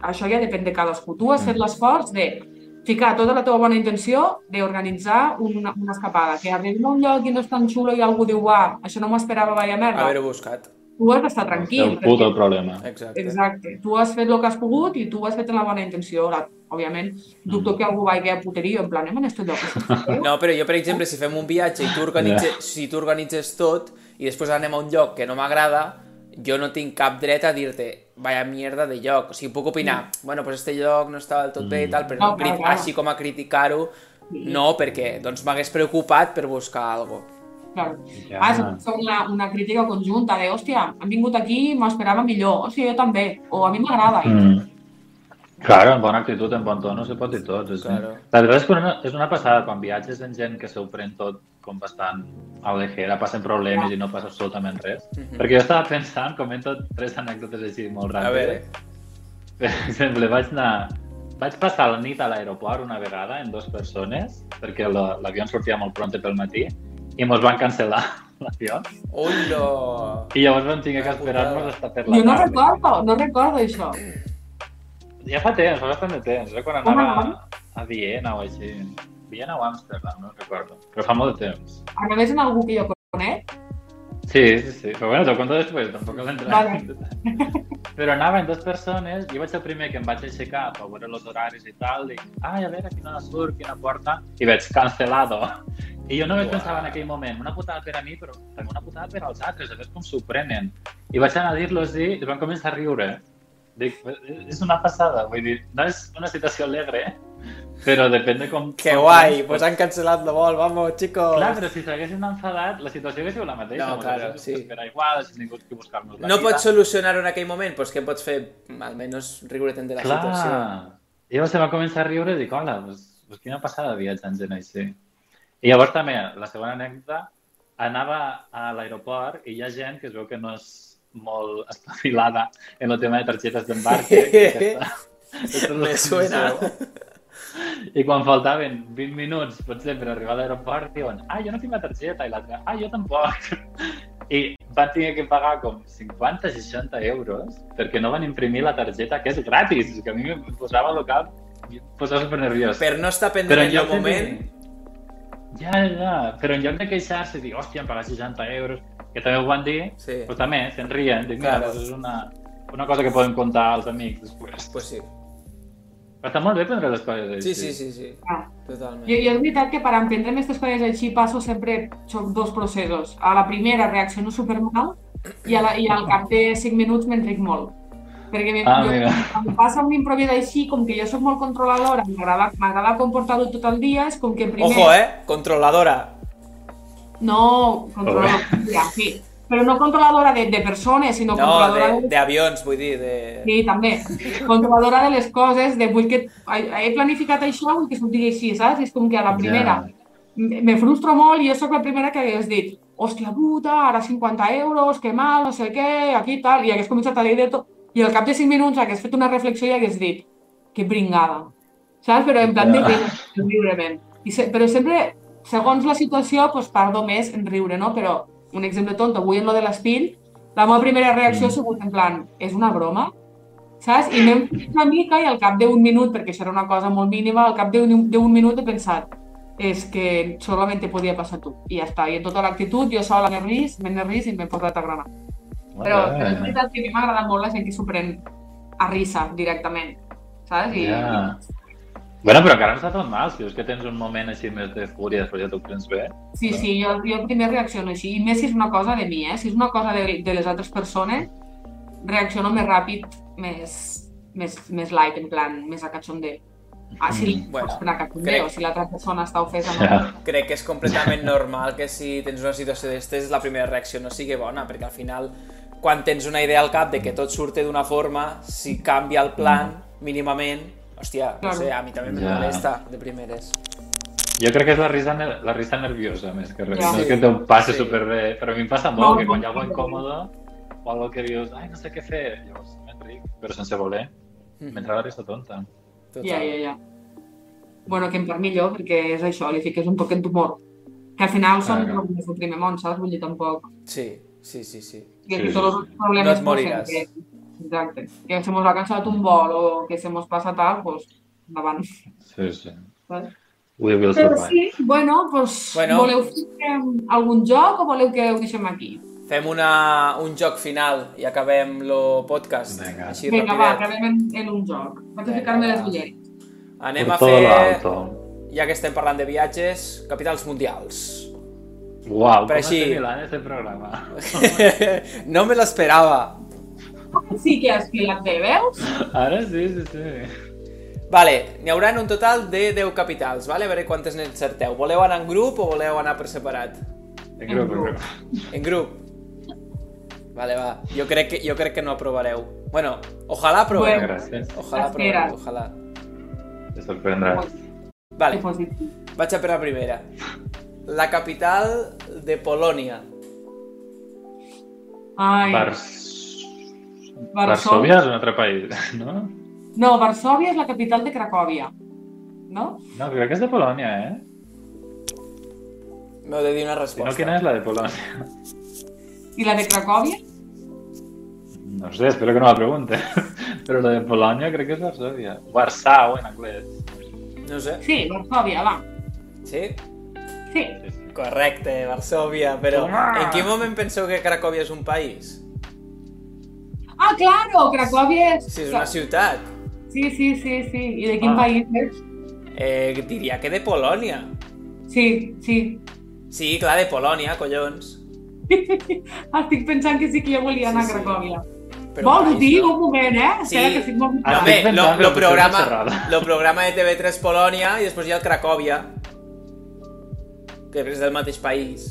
això ja depèn de cadascú. Tu has
Mm.
fet l'esforç de ficar tota la teva bona intenció d'organitzar una, una escapada. Que arribem a un lloc i no és tan xulo i algú diu, ah, això no m'esperava, vaya merda.
Haver-ho buscat,
Tu has d'estar tranquil. Ah,
El puto problema.
exacte.
Exacte. Tu has fet el que has pogut i tu ho has fet amb la bona intenció. La, òbviament, dubto que algú vagi a puteria en plan, anem en aquest lloc. és que feu?"
No, però jo, per exemple, si fem un viatge i tu organitzes, si tu organitzes tot i després anem a un lloc que no m'agrada, jo no tinc cap dret a dir-te vaya mierda de lloc. O sigui, puc opinar, bueno, pues este lloc no estava del tot bé i tal, però
Mm. No,
no, crit-
clar, clar.
així com a criticar-ho, no, perquè doncs m'hagués preocupat per buscar alguna cosa.
Claro.
Ja.
Ah, és una, una crítica conjunta de, hòstia, han vingut aquí, m'esperava millor, hòstia, jo també, o a mi m'agrada. Mm.
Mm. Claro, en bona actitud, en bon to, no se pot dir tot. És,
Claro.
La veritat és que una, és una passada quan viatges en gent que s'ho pren tot com bastant a la ligera, passen problemes
Ja.
i no passa absolutament res.
Mhm.
Perquè jo estava pensant, comento tres anècdotes així molt
A
ràpides.
veure,
Per exemple, vaig anar... Vaig passar la nit a l'aeroport una vegada en dues persones, perquè la- l'avió ens sortia molt pront pel matí, i mos van cancel·lar l'avió.
ullo!
I llavors vam tenir que
Ah, putada.
esperar-nos hasta per la
Jo no
tarda.
recordo, no recordo això.
Ja fa temps, fa bastant de temps, eh? quan
Com
anava
anava?
a Viena o així. Viena o Amsterdam, no recordo. Però fa molt de temps.
Anaves en algú que jo conec?
Sí, sí, sí. Però bueno, t'ho conto després, tampoc has entrat.
Vale.
Però anaven dues persones, jo vaig ser el primer que em vaig aixecar per veure els horaris i tal, dic, ai, a veure, quina hora surt, quina porta, i veig, cancelado. I jo només
Uau.
pensava en aquell moment, una putada per a mi, però també una putada per als altres, a veure com s'ho prenen. I vaig anar a dir-los i es van començar a riure. Dic, és una passada, vull dir, no és una situació alegre, eh? però depèn de com...
Que guai, pues han cancelat la vol, vamos, chicos.
Clar, però si s'haguessin enfadat, la situació hauria sigut la mateixa.
Doncs- No,
nosaltres
claro,
ens
sí.
espera igual, si ningú que buscar-nos la
No
vida.
pots solucionar-ho en aquell moment, doncs què pots fer? Almenys riure-te'n de la
Clar.
situació.
I llavors se va començar a riure i dic, hola, pues, pues quina passada viatjar en gent així. I llavors també, la segona anècdota, anava a l'aeroport i hi ha gent que es veu que no és molt espavilada en el tema de targetes d'embarque. que està- aquesta és la
Me suena.
condició. I quan faltaven 20 minuts, potser, per arribar a l'aeroport, diuen, ah, jo no tinc la targeta, i l'altre, ah, jo tampoc. I van tenir que pagar com 50, 60 euros perquè no van imprimir la targeta, que és gratis. És que a mi em posava el cap, i em posava super nerviós.
Per no estar pendent en el
de
moment,
dir- Ja, ja, però en lloc de queixar-se i dir, hòstia, em pagar 60 euros, que també ho van dir,
sí,
però també se'n rien, dic, mira,
Claro.
doncs és una, una cosa que podem contar als amics després.
pues sí.
Però està molt bé prendre les coses així.
Sí, sí, sí, sí,
Ah. Jo,
totalment.
jo és veritat que per entendre aquestes coses així passo sempre soc dos processos. A la primera reacciono supermal i, a la, i al cap de 5 minuts m'enric molt. Perquè me,
Ah,
jo,
mira.
em passa un improvis així, com que jo sóc molt controladora, m'agrada m'agrada comportar-ho tot el dia, és com que primer...
Ojo, eh? Controladora.
No, controladora, sí. Però no controladora de, de persones, sinó
No,
controladora
de- d'avions, vull dir, de...
Sí, també. Controladora de les coses, de vull que... He planificat això, vull que sortigui així, saps? És com que a la primera m- me frustro molt i jo sóc la primera que hagués dit hòstia puta, ara 50 euros, que mal, no sé què, aquí tal, i hagués començat a dir de tot. I al cap de 5 minuts hagués fet una reflexió i hagués dit que bringada, saps? Però en plan de
Ja.
riure, riurement. I se, però sempre, segons la situació, doncs tardo més en riure, no? Però un exemple tonto, avui en lo de l'espill, la meva primera reacció
Mm.
ha sigut en plan, és una broma? Saps? I m'hem fet una mica i al cap d'un minut, perquè això era una cosa molt mínima, al cap d'un d'un minut he pensat, és que solament te podia passar a tu. I ja està, i en tota l'actitud, jo sola m'he ris, m'he ris i m'he posat a granar. Però,
Ah,
però és veritat que a mi m'ha agradat molt la gent que s'ho pren a risa directament, saps? I,
Ja. Bueno, però encara no està tot mal, si és que tens un moment així més de fúria, després ja t'ho prens bé.
Sí, sí, jo, jo primer reacciono així, i més si és una cosa de mi, eh? Si és una cosa de, de les altres persones, reacciono més ràpid, més, més, més light, en plan, més a cachondeo. Ah, si
Mm,
mm,
bueno,
bueno, a cachondeo,
crec-
si l'altra persona està ofesa, no.
Ja.
Crec que és completament normal que si tens una situació d'estes la primera reacció no sigui bona, perquè al final, quan tens una idea al cap de que tot surte d'una forma, si canvia el plan mínimament, hòstia, no
Claro.
sé, a mi també em
Ja.
molesta de primeres.
Jo crec que és la risa, ner- la risa nerviosa, més que res.
Ja.
No és que t'ho passi
Sí.
superbé, però a mi em passa molt,
No,
que quan hi ha
no,
algo
no.
incòmode o algo que dius, ai, no sé què fer, llavors m'enric, però sense voler,
Mhm,
m'entra la risa tonta.
Total.
Ja, ja, ja. Bueno, que em part millor, perquè és això, li fiques un toquet d'humor. Que al final són
Claro.
problemes del primer món, saps? Vull dir, tampoc...
Sí, sí, sí, sí.
Que
Sí,
sí,
sí,
tots
sí.
els problemes...
No et moriràs.
pues, sempre- Exacte. Que se mos ha cansat un vol o que se mos passa tal, doncs, pues, endavant.
Sí, sí.
Vale.
We will
Però
survive.
sí, bueno, doncs,
Bueno.
voleu fer algun joc o voleu que ho deixem aquí?
Fem una, un joc final i acabem el podcast.
Vinga.
Així
Vinga, va,
rapidet.
acabem en, en un joc. Vaig a
Vinga,
ficar-me les
va.
ulleres.
Anem a
Por todo lo
fer,
alto.
ja que estem parlant de viatges, capitals mundials.
Uau, com
Però
així...
així-
has milat este programa?
no me l'esperava.
Sí que has filat bé, veus?
Ara sí, sí, sí.
Vale, n'hi haurà un total de 10 capitals, vale? a veure quantes n'encerteu. Voleu anar en grup o voleu anar per separat?
En grup, en grup.
En grup. Vale, va. Jo crec que, jo crec que no aprovareu. Bueno, ojalà aproveu.
Bueno.
Gràcies.
Ojalà
Espera.
aproveu, ojalà.
Te sorprendràs.
Vale,
Positiu.
vaig a per la primera. La capital de Polònia.
Ai,
Vars...
Varsòvia.
Varsòvia és un altre país, no?
no, Varsovia és la capital de Cracòvia, no?
No, crec que és de Polònia, eh?
M'heu de dir una
Si no,
resposta.
quina és la de Polònia?
I la de Cracòvia?
No sé, espero que no la pregunte. Però la de Polònia crec que és Varsovia. Warsau, en anglès.
No sé.
Sí, Varsovia, va.
Sí?
Sí.
Sí, sí.
Correcte, Varsovia, però
Toma!
en quin moment penseu que Cracòvia és un país?
Ah, claro, Cracòvia és...
Si és una ciutat.
Sí, sí, sí, sí. I de quin
Ah.
país és?
Eh, diria que de Polònia.
Sí, sí.
Sí, clar, de Polònia, collons.
Estic pensant que sí que jo volia anar
Sí,
a
sí.
Cracòvia.
Però
Vols
país,
dir
no?
un moment, eh?
Sí.
Espera que estic molt...
Ah,
També,
Estic
lo,
pensant,
lo,
però potser
programa,
m'he encerrat.
lo programa de TV3 Polònia i després hi ha el Cracòvia, que és del mateix país.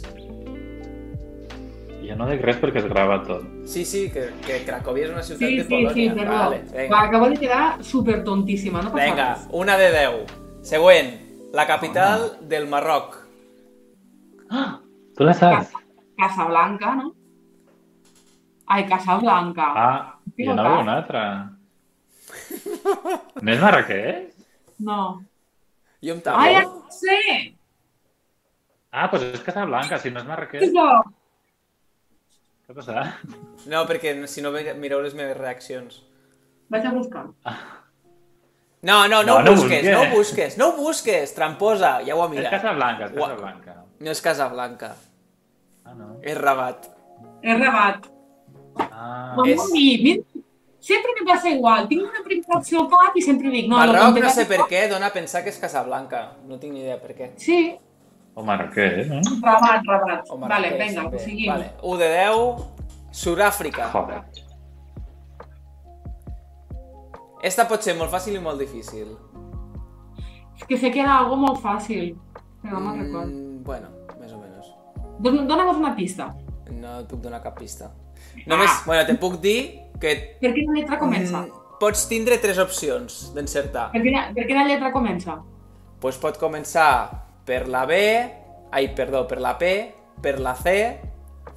Jo no dic res perquè es grava tot.
Sí, sí, que, que Cracòvia és una ciutat
Sí,
de
sí,
Polònia.
sí, perdó.
Vale,
Va,
vinga.
acabo de quedar súper tontíssima, no passa
vinga,
res.
una de 10. Següent, la capital del Marroc.
Tu la saps?
Casa, Casablanca, no? Ai, Casablanca.
Ah, jo anava a una altra. No és Marrakeix?
No.
Jo em
Ai, ja
tamo.
no sé!
Ah, doncs és Casablanca, si no és Marrakeix.
Jo.
Què ha passat?
No, perquè si no ve- mireu les meves reaccions.
Vaig a buscar.
No, no, no,
No,
ho
no
busques,
busqué.
no ho busques, no ho busques, tramposa, ja ho ha
És
mirat.
Casablanca, és
Ua.
Casablanca.
No és Casablanca,
Ah, no.
és Rabat.
He rebat.
Ah,
No,
És-
és... mi, sempre me passa igual. Tinc una primera opció al cap i sempre dic... No, lo
Marroc
conté
no sé
Casablanca.
per què, dona a pensar que és Casablanca. No tinc ni idea per què.
Sí,
o Marrakeix, no?
rebat, rebat.
O
vale,
Marrakeix,
vinga,
també.
ho seguim.
Vale. 1 de 10, Sud-àfrica.
Joder.
Esta pot ser molt fàcil i molt difícil.
És que sé que era algo molt fàcil, però no me'n recordo.
Mm, bueno, més o menys.
Don- Dóna-nos una pista.
No et puc donar cap pista. Només,
Ah.
bueno, te puc dir que...
Per quina lletra comença?
mm, Pots tindre tres opcions d'encertar.
Per, quina, per quina lletra comença?
Pues pot començar per la B, ai, perdó, per la P, per la C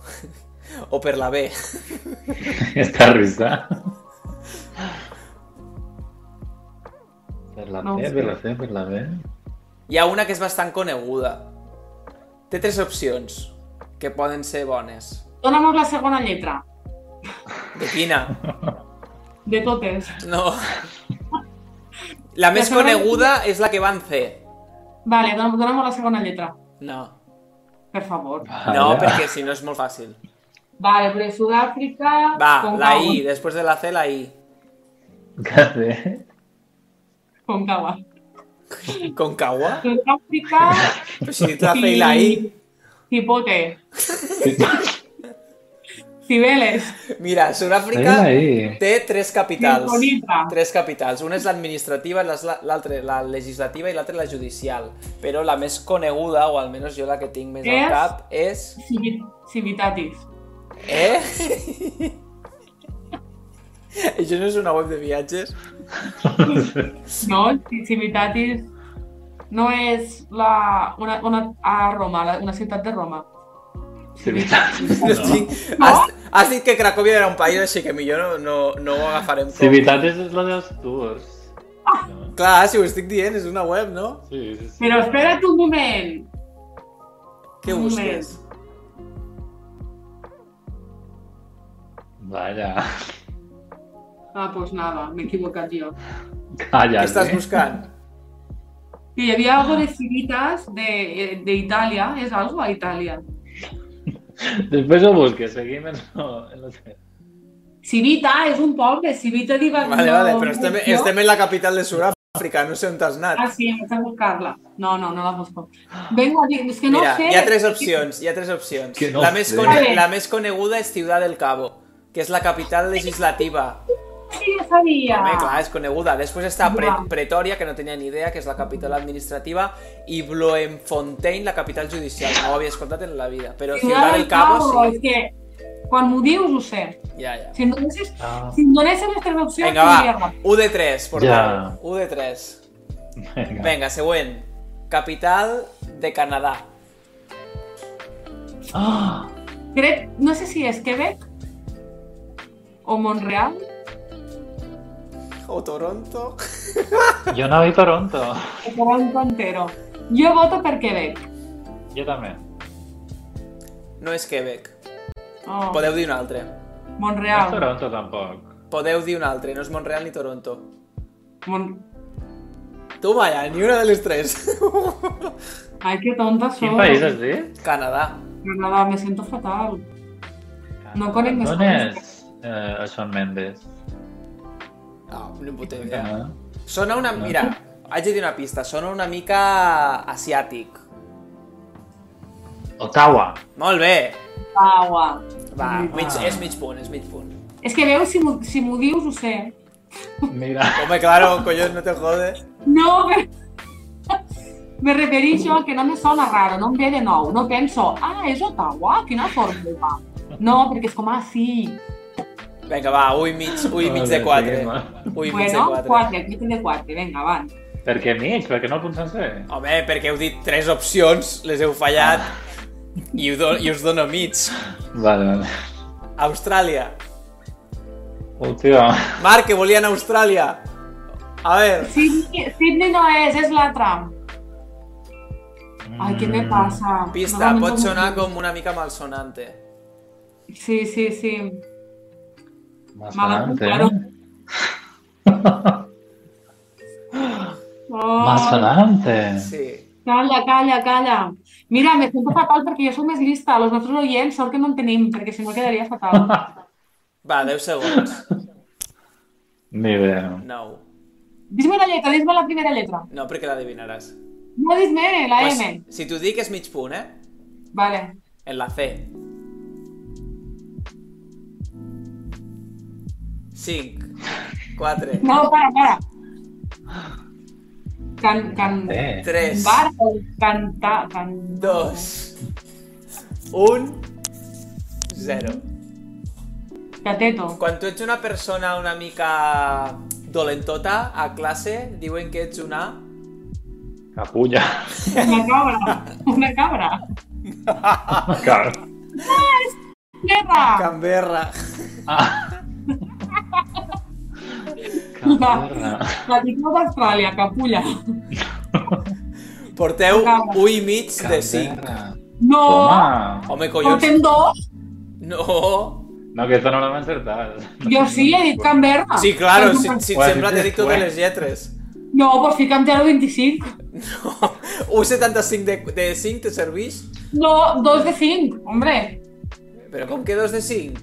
o per la B.
Està risa. Per la
No ho
T,
sé.
per la C, per la B.
Hi ha una que és bastant coneguda. Té tres opcions que poden ser bones.
Dóna-nos la segona lletra.
De quina?
De totes.
No. La
La
més
segona-
coneguda és la que van fer.
Vale, dóna- dóna-nos la segona lletra.
No.
Per favor.
No,
Vale.
perquè si no és molt fàcil.
Vale, però Sud-àfrica...
Va, la
Concagua.
I, després de la C, la I.
Què té?
Concagua.
Concagua?
Sud-àfrica...
Però si he dit la C i la I.
Cipote. Cibeles.
Mira,
Era
Sud-àfrica
ahí.
té tres capitals.
Bonita.
Tres capitals. Una és l'administrativa, l'as- l'altra la legislativa i l'altra la judicial. Però la més coneguda, o almenys jo la que tinc més
És?
al cap, és...
Civi- Civitatis.
Eh? Això no és una web de viatges?
No, Ci- Civitatis no és la, una, una, a Roma, la, una ciutat de Roma.
Civitatis.
No.
No.
Estic... Has, has dit que Cracòvia era un país, així que millor no, no, no ho agafarem com...
Civitatis és la dels tours. No?
Clar, si ho estic dient, és una web, no?
Sí, sí, sí.
Però espera't un moment.
Què
Un
busques?
Vaya.
Ah, doncs pues nada, m'he equivocat jo.
Calla.
Què estàs buscant?
Que hi havia algo de civitas de- d'Itàlia, és algo a Itàlia.
Després ho busques, seguim en lo- en lo que-
Civita és un poble, Civita diva...
Vale,
no,
vale, però estem,
no.
estem en la capital de Sud-àfrica, no sé on t'has
Ah,
anat.
sí, hem de buscar-la. No, no, no la busco. Vengo a dir, és que no
Mira,
sé...
hi ha tres opcions, hi ha tres opcions.
Que no
la, més
sé.
cone la més coneguda és Ciudad del Cabo, que és la capital legislativa.
Sí, ja sabia.
Home, clar, és coneguda. Després està Pre
Ja.
Pretòria, que no tenia ni idea, que és la capital administrativa, i Bloemfontein, la capital judicial. No ho havia escoltat en la vida, però Ciudad del Cabo
És
sí.
que quan m'ho dius ho sé.
Ja, ja.
Si em donessis,
Ah,
si em donessis les tres opcions,
Vinga,
tindria
va,
raó.
1 de 3, por
Ja.
favor. 1 de 3.
venga.
Vinga, següent. Capital de Canadà.
Ah,
Crec, no sé si és Quebec o Montreal.
O Toronto.
jo no vi Toronto.
o Toronto entero. Jo voto per Quebec.
Jo també.
No és Quebec.
Oh,
Podeu dir un altre.
No és
Montreal.
Toronto tampoc.
Podeu dir un altre, no és Montreal ni Toronto.
Mon...
Toma ja, ni una de les tres.
Ai, que tonta
Quin
sóc.
país has dit?
Canadà.
Canadà, me sento fatal. No conec més
On
coses.
és eh, Shawn Mendes?
No, no Ah, puta idea.
Yeah.
Sona una...
No.
Mira, haig de dir una pista. Sona una mica asiàtic.
Ottawa.
Molt bé.
Agua.
Va,
Ah.
mig, és mig punt, és mig punt.
És que veus, si m'ho si m'ho dius, ho sé.
Mira.
Home, claro, collons, no te jode.
No, me, me refereixo a que no me sona raro, no em ve de nou. No penso, ah, és Ottawa, quina forma. No, perquè és com, ah, sí.
Vinga, va, ui mig, ui mig de
Vale,
quatre.
seguim, va.
Ui mig de
bueno,
quatre.
quatre, aquí de quatre, vinga, avant.
Per què mig? Per què no el punt sencer?
Home, perquè heu dit tres opcions, les heu fallat, i, ho do, i us dono mig.
Vale, vale.
Austràlia.
Hòstia.
Marc, que volien Austràlia. A veure,
Sydney, Sydney no és, és l'altra. Ai,
Mm,
què me passa?
pista,
Normalment
pot
som-
sonar com una mica malsonante.
Sí, sí, sí.
Malsonante.
Malsonante. Oh,
Malsonante.
Sí.
calla, calla, calla. Mira, me sento fatal perquè jo sóc més llista. Els nostres oients, sort que no en tenim, perquè si no quedaria fatal.
Va, 10 segons.
Ni idea.
9.
Dis-me la lletra, dis-me la primera lletra.
No, perquè l'adivinaràs.
No, dis-me eh, la M.
si t'ho dic és mig punt, eh?
Vale.
En la C. 5, 4,
No, para, para. Can, can,
Eh.
3,
bar, canta, can...
2, 1, 0.
Cateto.
Quan tu ets una persona una mica dolentota a classe, diuen que ets una...
Capulla.
Una cabra. Una cabra.
Car.
Guerra.
Camberra.
Ah. Capulla.
La dictadura d'Austràlia, capulla.
Porteu
Cabra.
1 i mig de 5.
No,
Toma.
Home, collons.
portem dos.
No.
No, aquesta no l'hem encertat.
Jo sí, he dit Canberra.
Sí, claro, si, si et
Ué,
sembla t'he dit totes
ué.
les lletres.
No, pues doncs fica'm 0,25.
1,75 de, de 5 te serveix?
No, dos de cinc, hombre.
Però com que 2 de 5?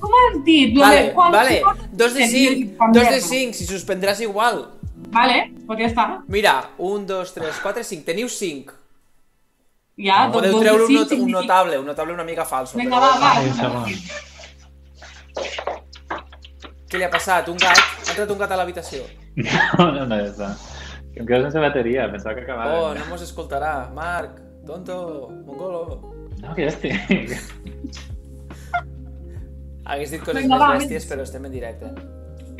Com has dit? Lo
Vale,
de quan-
vale,
quan-
2 de
Sí, he
5,
dit
2 de
Canberra.
5, si suspendràs igual.
Vale, pues doncs ja està.
Mira, 1, 2, 3, 4, 5, teniu 5.
Ja, doncs
Podeu
dos de
treure un,
cinc
not un
significa-
notable, un notable una mica falso.
Vinga, va, va.
Ai, un segon.
Què li ha passat? Un gat? Ha entrat un gat a l'habitació.
No, no, no, ja està. Que em quedo sense bateria, pensava que acabava.
Oh, no mos escoltarà. Marc, tonto, mongolo.
No, que este. ja estic.
Hagués dit coses
Vinga,
més
va,
bèsties,
vens.
però estem en directe.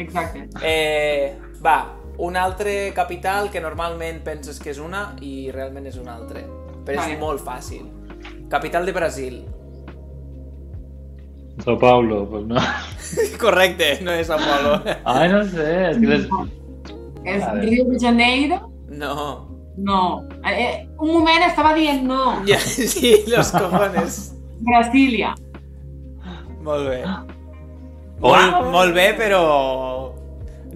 Exacte.
Eh, va, un altre capital que normalment penses que és una i realment és una altra. Però és
Vale.
molt fàcil. Capital de Brasil.
Sao Paulo, pues no.
Correcte, no és Sao Paulo.
Ai, no sé, és que les...
És
A veure.
Rio de Janeiro?
No.
No. Eh, eh, un moment estava dient no.
Ja, sí, los cojones.
Brasília.
Molt bé.
Uau.
Molt, molt bé, però...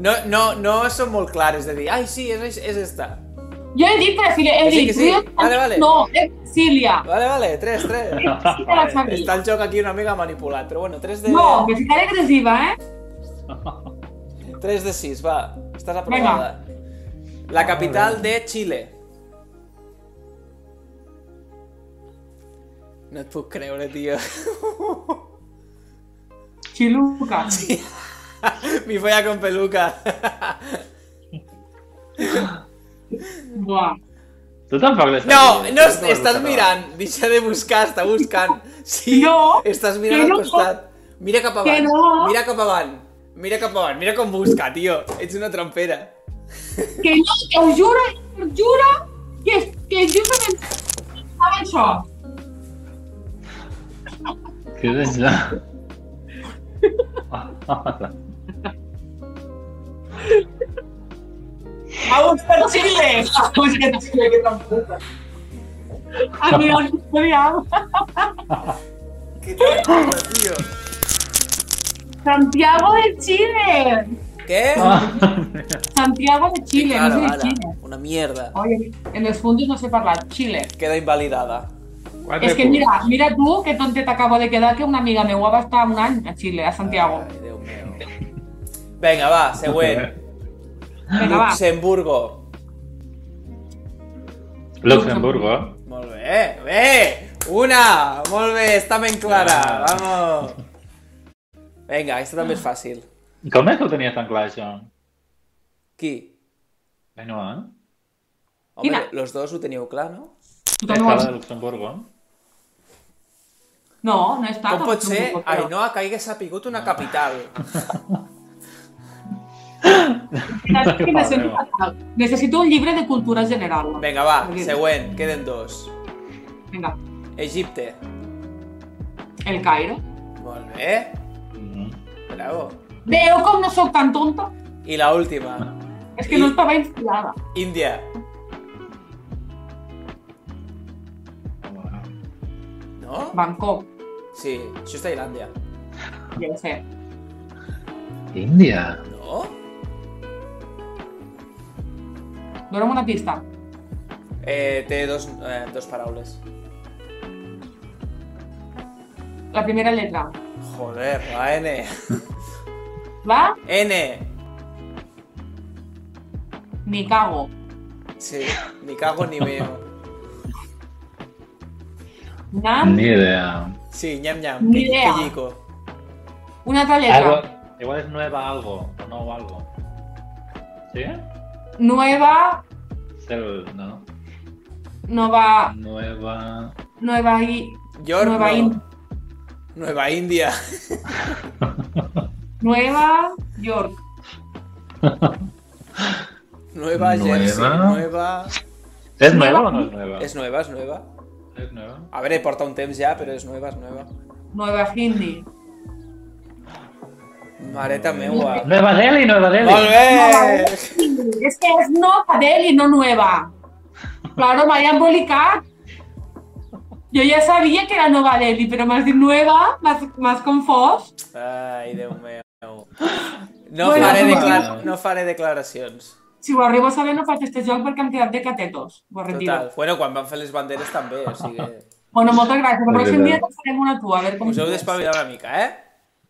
No, no, no són molt clares de dir, ai, sí, és, és esta.
Jo he dit Brasília, he
Que sí,
dit
que sí.
Rio de
Vale, vale.
No, és Brasília.
Vale, vale, 3, 3.
Sí que la sabia.
Està el joc aquí una mica manipulat, però bueno, 3 de,
No, que ficaré agressiva, eh?
3 de 6, va. Estàs aprovada. La capital de Xile. No et puc creure, tio.
Xiluca.
Mi folla con peluca.
Buah.
Tu tampoc les
No, no,
sabies. Tu tampoc
estàs
les
mirant. Deixa de buscar, està buscant. Sí,
No,
estàs mirant
que
al
no.
costat. Mira cap
Que
avant,
no.
mira cap avant, mira cap avant, mira com busca, tio. Ets una trampera.
Que no, que us juro, que us juro, que, que justament estava això.
sabràs. Què és això? Ah,
A un Brasile. A un Brasile, Pues que tampoc. A mi no historial.
Què t'ha tio?
Santiago de Chile.
Què?
Ah,
Santiago de Chile, no
Claro,
sé de
ara,
Chile.
una mierda.
Oye, en els fons no sé parlar Xile.
Queda invalidada.
quatre
És que
punts.
mira, mira tu que tontet acabo de quedar que una amiga meua va estar un any a Xile, a Santiago.
Ai, Déu meu. Vinga, va, següent. Ah,
Vinga, va.
Luxemburgo.
Luxemburgo.
Molt bé, bé! eh, Una! Molt bé, està ben clara,
Ah.
vamos! Vinga, aquesta també és fàcil.
Com és que ho tenies tan clar, això?
Qui?
Bueno, eh?
Home,
Quina?
los dos ho teniu clar, no?
Tu també ho
Estava
has...
de Luxemburgo.
No, no he estat.
Com
a
pot ser?
Luxemburgo, però-
Ainhoa, que hagués sapigut una capital.
Saps que
Ai,
necessito,
Déu.
fatal. necessito un llibre de cultura general.
Vinga, va,
Molt bé.
següent, queden dos.
Vinga,
Egipte.
el Cairo.
Molt bé,
Mm.
bravo.
Veu com no sóc tan tonta?
I la última,
És que
I-
no estava inspirada.
Índia. No?
Bangkok,
Sí, això és Tailàndia.
ja ho sé.
Índia.
No?
Dóna'm una pista.
Eh, té dos, eh, dos paraules.
La primera lletra.
Joder, la Ah, N.
La
N.
ni cago.
Sí, ni cago ni veo.
Nan,
Ni idea.
Sí, ñam ñam,
Ni
que-
idea.
que llico.
una altra lletra.
Algo, igual és nueva algo, o nou algo. Sí?
Nueva,
Cel, no?
nova,
Nueva...
nueva i...
York,
Nueva
no.
In-
Nueva India.
Nueva York.
Nueva Jersey.
Nueva.
Nueva...
És nueva o no és nueva?
És nueva, és nueva.
és nueva.
A veure, porta un temps ja, però és nueva, és nueva.
Nueva Hindi.
Mareta meua.
Nueva Delhi, Nueva Delhi.
Molt bé!
És que és nova Delhi, no nueva. Claro, m'he embolicat. Jo ja sabia que era nova Delhi, però m'has dit nueva, m'has m'has confós.
Ai, Déu meu. No
Bueno,
faré,
sí.
declar... no faré declaracions.
Si ho arribo a saber no faig este joc perquè hem quedat de catetos. Ho retiro.
Total. Bueno, quan van fer les banderes també, o sigui...
Bueno, moltes gràcies. El
És
pròxim dia
veritat.
te'n farem una tu, a veure com
Us heu
tu és.
d'espavilar una mica, eh?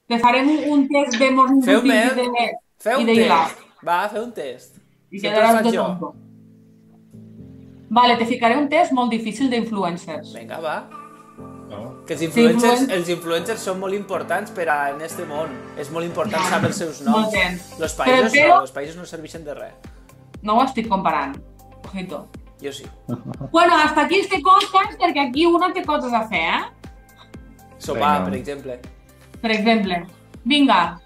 Te farem un, un test de morning
Feu
routine
bé.
i de...
Feu
I
un
de hilar.
test. Va, feu un test.
I
Sempre
quedaràs
faig
tot
jo.
tonto. Vale, te ficaré un test molt difícil d'influencers.
Vinga, va.
No?
Que els influencers,
influen-
els influencers són molt importants per a en este món. És molt important saber els seus noms.
Molt temps.
Los
Però
països
teu-
no, los països no serveixen de res.
No ho estic comparant. Ojito.
Jo sí.
Bueno, hasta aquí este podcast, perquè aquí una té coses a fer, eh?
Sopar,
Vinga.
per exemple.
Per exemple, vinga,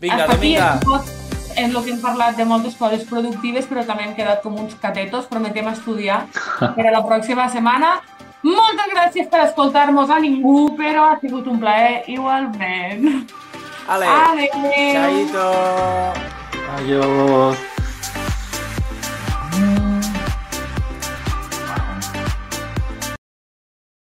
Vinga,
hasta
Dominga.
aquí el podcast en el que hem parlat de moltes coses productives, però també hem quedat com uns catetos, prometem estudiar per a la pròxima setmana. Moltes gràcies per escoltar-nos a ningú, però ha sigut un plaer igualment.
Ale.
Adéu!
Chaito.
Adiós.